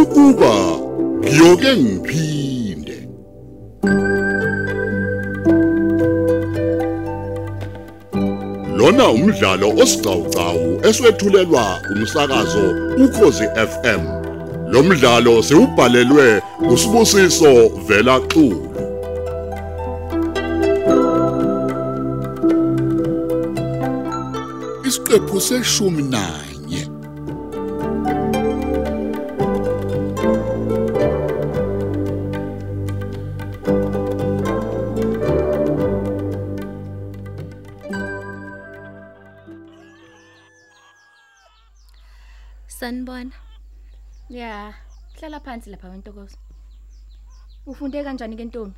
ukuba ngiyoke ngiphinde lona umdlalo osiqhawqhawo eswethulelwa umsakazo ukhozi FM lo mdlalo siubhalelwe usibusiso vela xulu isiqephu seshumi nanye sanibona Ya, hlala phansi lapha wentokozo. Ufunde kanjani ke ntombi?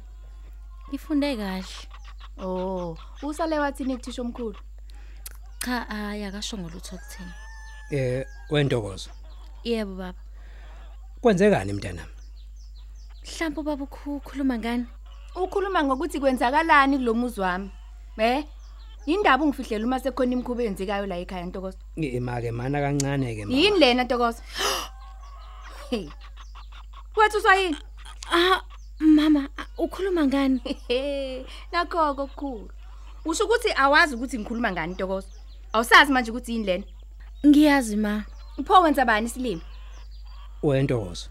ngifunde kahle Oh, usale wathini kuthisha omkhulu? cha hayi akasho ngolutho okutheni Eh wentokozo. yebo baba Kwenzekani mntanami? mhlawumbe ubaba ukukhuluma ngani Ukhuluma ngokuthi kwenzakalani kulomuzi wami. Eh? Indaba ungifihlela uma sekhona imkhubo eyenzekayo la ekhaya ntokozo. Imake mana kancane ke mama. Yini lena ntokozo? Hey. Kwathi usayini? ah mama ah, ukhuluma ngani Nakho kokukhulu. Usho ukuthi awazi ukuthi ngikhuluma ngani ntokozo. Awusazi manje ukuthi yini lena? ngiyazi ma Upho wenza bani silimi? Wentokozo.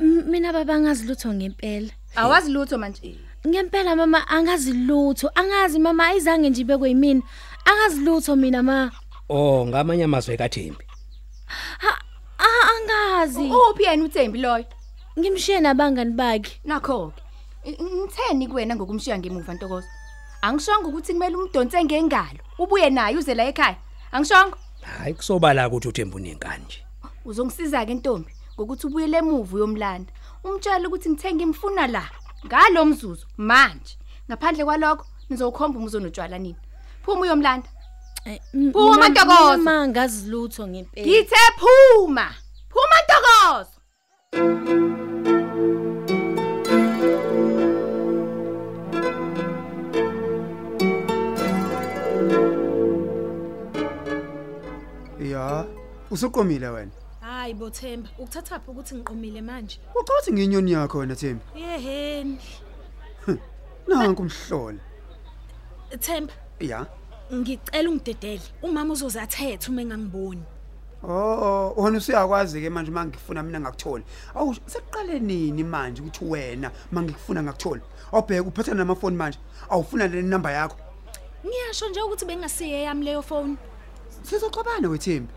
M- mina baba angazi lutho ngempela Awazi lutho manje. ngempela mama angazi lutho angazi mama ayizange nje ibekwe yimina angazi lutho mina ma Oh ngamanye amazwe kaThembi. Ha- ah angazi Uphi yena uThembi loyo? ngimshiye nabangani bakhe Nakho ke ngitheni kuwena ngokumshiya ngemuva Ntokozo? Angishongo ukuthi kumele umdonse ngengalo ubuye naye uze la ekhaya. Angishongo Hayi kusobala ukuthi uThembi unenkani nje. uzongisiza ke ntombi ngokuthi ubuye lemuva yomlanda. Umtshela ukuthi ngithenga imfuna la ngalomzuzu manje. Ngaphandle kwalokho nizokhomba umuzo notshwala nini. Phuma uyomlanda. Eh, m- Phuma, mina- Ntokozo. mina ma angazi lutho Eh. ngempela Ngithe phuma. Phuma Ntokozo. Ya, usuqomile wena. hayi bothemba ukuthathaphi ukuthi ngiqumile manje Uqhathi nginyoni yakho wena Thembi. yeheni Nanku umhlola. themba Ya. ngicela ungidedele umama uzozathetha uma engangiboni Oh, wona usiyakwazi ke manje mangifuna mina ngakutholi. Awu sekuqale nini manje ukuthi wena mangikufuna ngakutholi? Awubheka uphetha namafoni manje. Awufuna le number yakho. ngiyasho nje ukuthi bengasiye yami leyo foni Sizoxabana wethembi.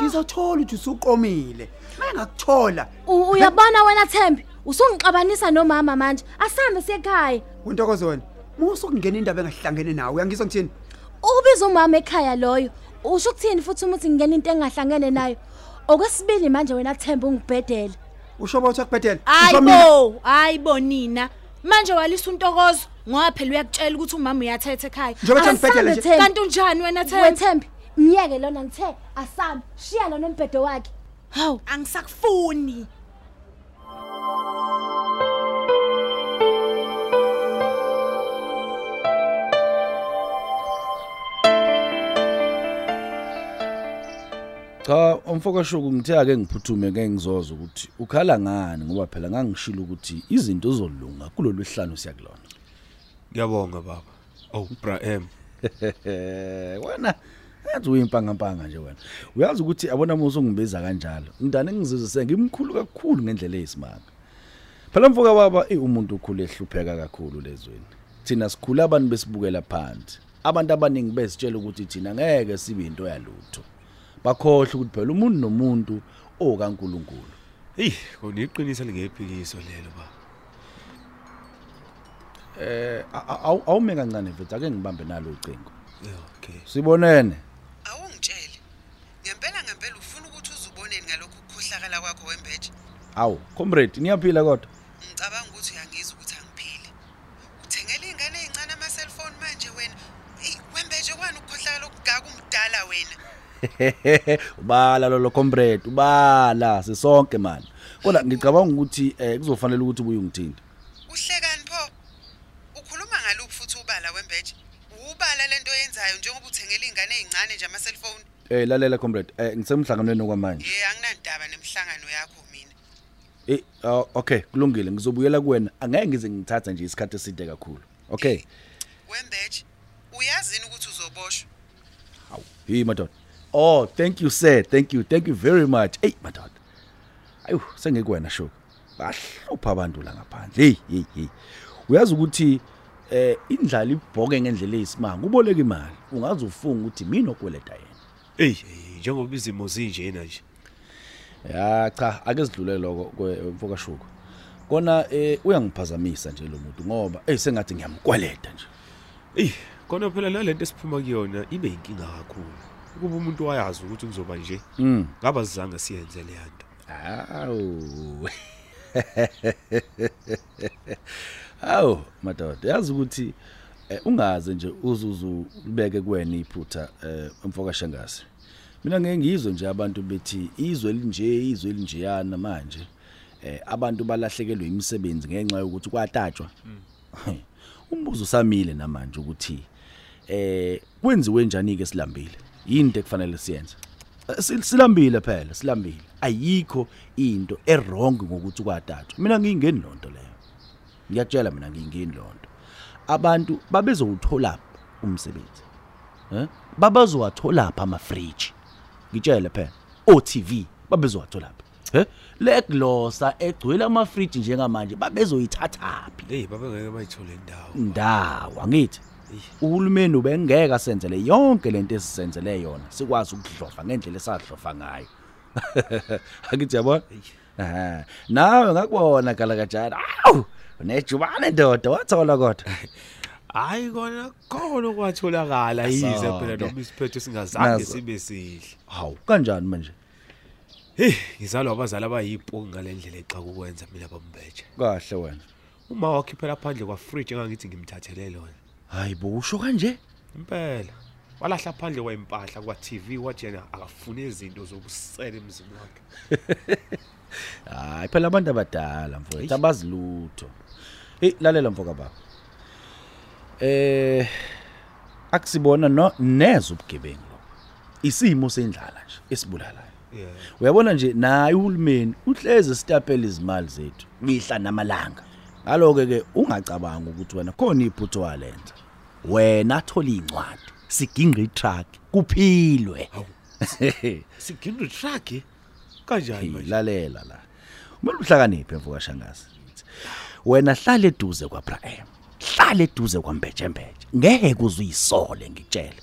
Ngizothola ukuthi usuqomile. Mangakuthola. U- uyabona wena Thembi usungixabanisa nomama manje asambe sekhaya Untokozo wena. Musu kungena indaba engahlangene nawe. Uyangizwa ngithini? ubiza umama ekhaya loyo usho ukuthini futhi uma uthi ngingena into engahlangene nayo okwesibili manje wena Thembi ungibhedela Usho bothi akubhedela. hayi Usho mina. bo hayi bo nina manje walisa untokozo ngoba phela uyakutshela ukuthi umama uyathetha ekhaya Njengoba Ah, uthi angibhedele Asambe nje. Thembi. kanti unjani wena themba wethembi miyeke lona ngithe asambe shiya lona umbhedo wakhe hawu angisakufuni Cha umfokashuku ngithe ake ngiphuthume ngeke ngizoza ukuthi ukhala ngani ngoba phela ngangishilo ukuthi izinto zolunga kulolu hlanu siyakulona. Ngiyabonga baba. Oh bra em. Wena yazi uyimpanga mpanga nje wena. Uyazi ukuthi abona muso ungibiza kanjalo. Ngidane ngizizise ngimkhulu kakhulu ngendlela eyisimanga. Phela mfoka baba eh, umuntu ukhule ehlupheka kakhulu lezweni. Thina sikhula abantu besibukela phansi. Abantu abaningi bezitshela ukuthi thina ngeke sibe into yalutho. Bakhohle ukuthi phela umuntu nomuntu okaNkuluNkulu Hey, kuniqinisa lingephikiso lelo baba. Eh a- a- awu- awume kancane mfethu ake ngibambe nalo ucingo. Yeah, okay. Sibonene. awungitshele ngempela ngempela ufuna ukuthi uzuboneni ngalokhu kukhohlakala kwakho wembeje Awu, comrade niyaphila kodwa? ngicabanga ukuthi uyangizwa ukuthi angiphile uthengele iy'ngane ey'ncane ama-cellphone manje wena eyi wembeje kwani ukukhohlakala okugaka umdala wena Ubala lo lo comrade, ubala sisonke manje. Kodwa ngicabanga ukuthi eh kuzofanele ukuthi ubuye ungithinte. uhlekani pho ukhuluma ngaluphi futhi ubala wembeje ubala lento oyenzayo njengoba uthengele iy'ngane ey'ncane nje ama-cellphone Eh lalela comrade, eh ngisemhlanganweni okwamanje. ye anginandaba nemihlangano yakho mina Eh ah, okay kulungile ngizobuyela kuwena angeke ngize ngithatha nje isikhathi eside kakhulu. Okay. wembeje uyazini ukuthi uzoboshwa Hey madod. Oh thank you sir thank you thank you very much. Hey madod. Ayu sengikuwena sho. Bahlupha abantu la ngaphandle. Hey hey hey. Uyazi ukuthi eh indlala ibhoke ngendlela eyisimanga uboleka imali ungaze ufunge ukuthi mina okweleta yena. eyi eyi, njengoba izimo zinjena nje Ya cha ake sidlule lokho mfoka shuka. Kona eh uyangiphazamisa nje lo muntu ngoba eh sengathi ngiyamkweleta nje. eyi kona phela nalento esiphuma kuyona ibe yinkinga kakhulu ukuba umuntu wayazi ukuthi kuzoba nje Mm. ngaba sizange siyenze leya nto Awu. Awu madoda yazi ukuthi eh, ungaze nje uzuzu libeke kuwena iphutha eh, mfoka shangazi. Mina ngeke ngizwe nje abantu bethi izwe linje izwe linjeyana manje eh abantu balahlekelwe imisebenzi ngenxa yokuthi kwatatshwa. Umbuzo samile namanje ukuthi eh kwenziwe njani ke silambile? Yini into ekufanele siyenze? Eh, sil- silambile phela silambile ayikho into errong ngokuthi kwadatshwa mina ngiyingeni lonto leyo ngiyatshela mina ngiyingeni lonto abantu babezowuthola umsebenzi eh babazowathola pha ama fridge ngitshele phela oTV babezowathola pha eh le glossa egcwele ama fridge njengamanje babezoyithathaphi eyi babengeke bayithole indawo ndawo ngithi uhulumeni ubengeke asenzele yonke lento esisenzele yona sikwazi ukudlova ngendlela esadlova ngayo akithi yabona Ehhe. nawe ngakubona gala kanjani awu unejubane ndoda wathola kodwa hhayi kona khona okwatholakala yize phela Asonke. noma isiphetho singazange Nazo- sibe sihle hawu kanjani manje heyi ngizalwa abazali abayipoki ngale ndlela exakukwenza mina bambeje kahle wena uma wakhiphela phandle kwafridge engangithi ngimthathele lona hayi bo usho kanje impela walahla phandle kwayimpahla kwa-tv wathi yena akafune izinto zokusela emzini wakhe hayi phela abantu abadala Eish. mfowethu abazilutho hey lalela mfoka baba eh akusibona no neza ubugebengu lokho isimo sendlala nje esibulalayo yeah uyabona nje naye uhulumeni uhleze isitapela izimali zethu mihla namalanga ngaloke ke ungacabanga ukuthi wena khona iphutho walenza wena athola incwadi siginqa itruck kuphilwe sigindwe truck kanjani Hey, manje lalela la kumele uhlakaniphe mvuka shangazi wena hlale eduze kwaBrahem hlale eduze kwaMbejembeje ngeke uzuyisole ngitshele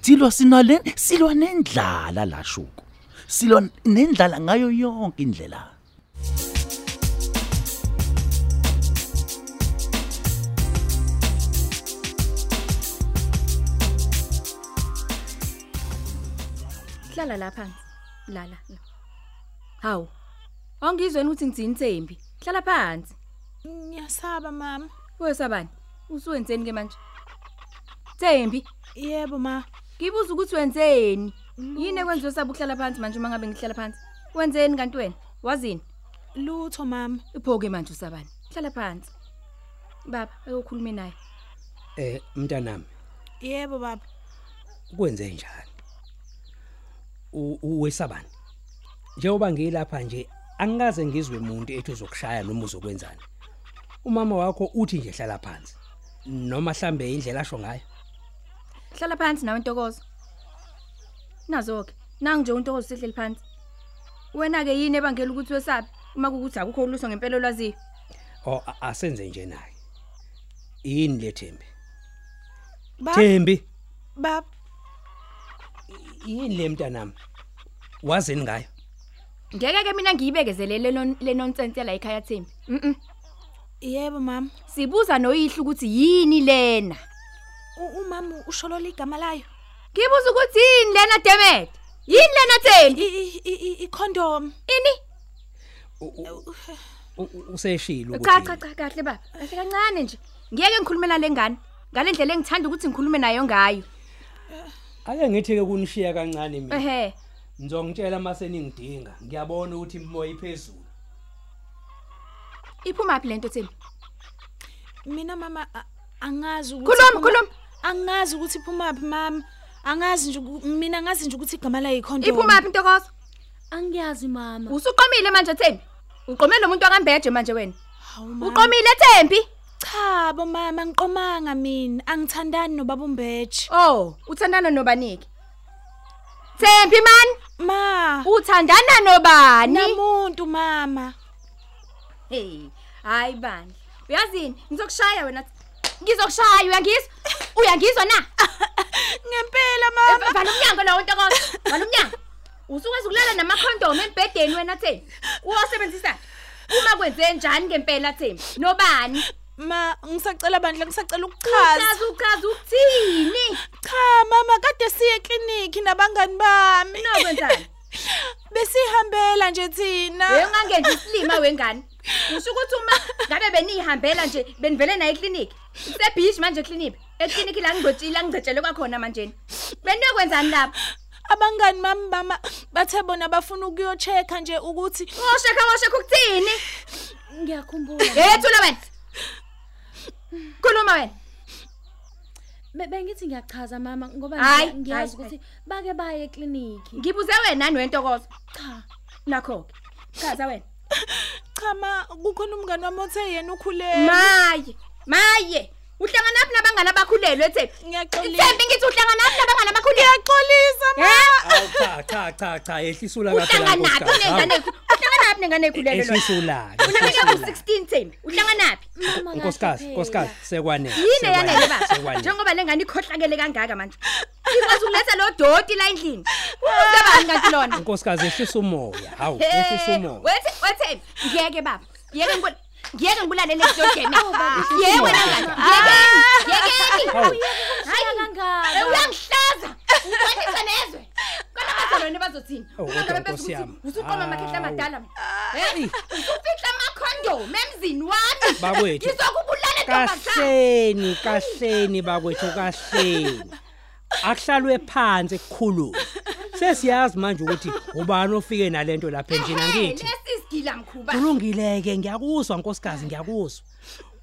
Tilo sinale silwa nendlala la shuku silwa nendlala ngayo yonke indlela Hlala lapha. Lala. Hawu. Angizweni ukuthi ngidzinthembi. Hlala phansi. Ngiyasaba mama. Wesabani? Usuwenzeni ke manje? Thembi, Yebo ma. ngibuza ukuthi wenzeni? Yini ekwenza usaba ukuhlala phansi manje uma ngabe ngihlala phansi? Wenzeni kanti wena? Wazini? Lutho mama. Iphoke manje usabani. Hlala phansi. Baba, ayokhuluma naye. Eh mntanami, Yebo baba. kwenze njani? U- Uwesabani. Njengoba ngilapha nje angikaze ngizwe umuntu ethi uzokushaya noma uzokwenzani. Umama wakho uthi nje hlala phansi. Noma mhlambe indlela asho ngayo. Hlala phansi nawe Ntokozo. Nazo ke. Nangi nje uNtokozo sihleli phansi. Wena ke yini ebangela ukuthi wesabe? Uma kukuthi akukho uluso ngempela olwaziyo. Oh a- asenze nje naye. Yini le Thembi? Baba. Thembi, Baba. yini le mntanami? Wazini ngayo? Ngeke ke mina ngiyibekezelele lon- le nonsense la ekhaya Thembi. Mhm. Yebo mama. Sibuza noyihlo ukuthi yini lena. U- Umama usholola igama layo. Ngibuza ukuthi yini lena Demet? Yini lena Thembi? I- i- i- i- Icondom. Ini? U- u- u- Useshilo Cha cha cha kahle baba. Kahle kancane nje. Ngeke ngikhulume nale ngane. Ngale ndlela engithanda ukuthi ngikhulume nayo ngayo. Ake ngithi ke kunishiya kancane mina. Ehhe. Ngizongitshela mase ningidinga. Ngiyabona ukuthi imoya iphezulu. Iphuma phi lento Thembi? Mina mama a- angazi ukuthi Khuluma, iphuma- khuluma. Angazi ukuthi iphuma phi mama. Angazi nje uku- mina ngazi nje ukuthi igama layo icondom. Iphuma phi Ntokozo? Angiyazi mama. Usuqomile manje Thembi. Uqome lo muntu akambheje manje wena. Hawu mama. Uqomile Thembi? Cha bo mama ngiqomanga mina. Angithandani nobaba uMbeje. Oh, uthandana nobaniki? Thembi man, Ma. uthandana nobani? Namuntu mama. Hey, hayi bandla. Uyazini, ngizokushaya wena. Ngizokushaya uyangizwa? Uyangizwa na? Ngempela mama. Eh, Vala umnyango lo nto kodwa. Vala umnyango. Usuke ukulala namakhondom embhedeni wena Thembi. Uwasebenzisa. Uma kwenze njani ngempela Thembi? Nobani? Ma ngisacela bandla ngisacela ukuchaza. Uchaza uchaza ukuthini? Cha mama kade siye ekliniki nabangani bami. Nokwenzani? Besihambela nje thina. Uyongangenza isilima wengane. Usho ukuthi uma ngabe benihambela nje benivele naye eclinic. Sebhish manje eclinic. Eclinic la ngigcotshila ngigcetshele kwakhona manje. Beniyokwenzani lapha? Abangani mami bama bathe bona bafuna ukuyochecka nje ukuthi Wosheka wosheka ukuthini? Ngiyakhumbula. Yethula wena. Khuluma wena. Be- Bengithi ngiyachaza mama ngoba Hhayi, ngiya- ngiyazi hhayi, ukuthi bake baye ekliniki. Ngibuze wena nwentokozo. Cha. Nakho ke. Chaza wena. cha ma kukhona umngani wami othe yena ukhulelwe. Maye. Maye. Uhlangana phi nabangani abakhulelwe ethe? Ngiyaxolisa. Ithembi ngithi uhlangana phi nabangani abakhulelwe? Ngiyaxolisa ma. Ah, Eh? Awu cha cha cha cha ehlisula kahle la Uhlangana phi Nkosikazi. nengane? Hawu, Uhlangana phi nengane ekhulelwe lo? Ehlisula. Uneminyaka u16 ehlisula. Thembi. Uhlangana phi? Ah, Mama kahle Nkosikazi, nkosikazi sekwanele. Yini sekwanele, yanele baba? sekwanele. Njengoba lengane ikhohlakele kangaka manje. Ikwazi ukuletha lo doti la endlini. Uzebani kanti lona? Nkosikazi ehlisa umoya. Hawu, Hey, ehlisa umoya. Wethe wethe ngiyeke baba. Ngiyeke ngikul Ngiyeke ngibulalele esidodeni. Yebo wena ngani. Ah. Ngiyeke ngiyeke. Hayi kangaka. Uyangihlaza. Uqinise nezwe. Kana bazalwane bazothini? Oh, kodwa Ungangabe Nkosi bese yami. Ah. uthi usuqoma amakhehla Hawu. amadala. Hey, ufihla amakhondom emzini wami. Bakwethu. Ngizokubulala ntombazana. Kahleni, kahleni bakwethu kahleni. Akuhlalwe phansi kukhulume. Sesiyazi manje ukuthi ubani ofike nalento lapha endlini angithi. Lesisigila mkhuba. Kulungile ke ngiyakuzwa nkosikazi ngiyakuzwa.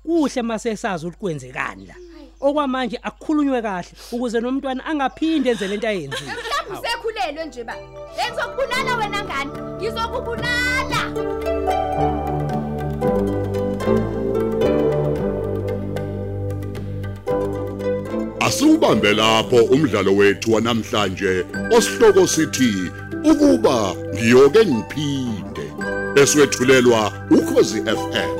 Kuhle mase sazi ukuthi kwenzekani la. Okwamanje akukhulunywe kahle ukuze nomntwana angaphinde enze lento ayenzile. Mhlawumbe usekhulelwe nje ba. Ngizokubulala wena ngani? Ngizokubulala. Asubambe lapho umdlalo wethu wanamhlanje osihloko sithi ukuba ngiyoke ngiphinde eswetshulelwa ukhozi FM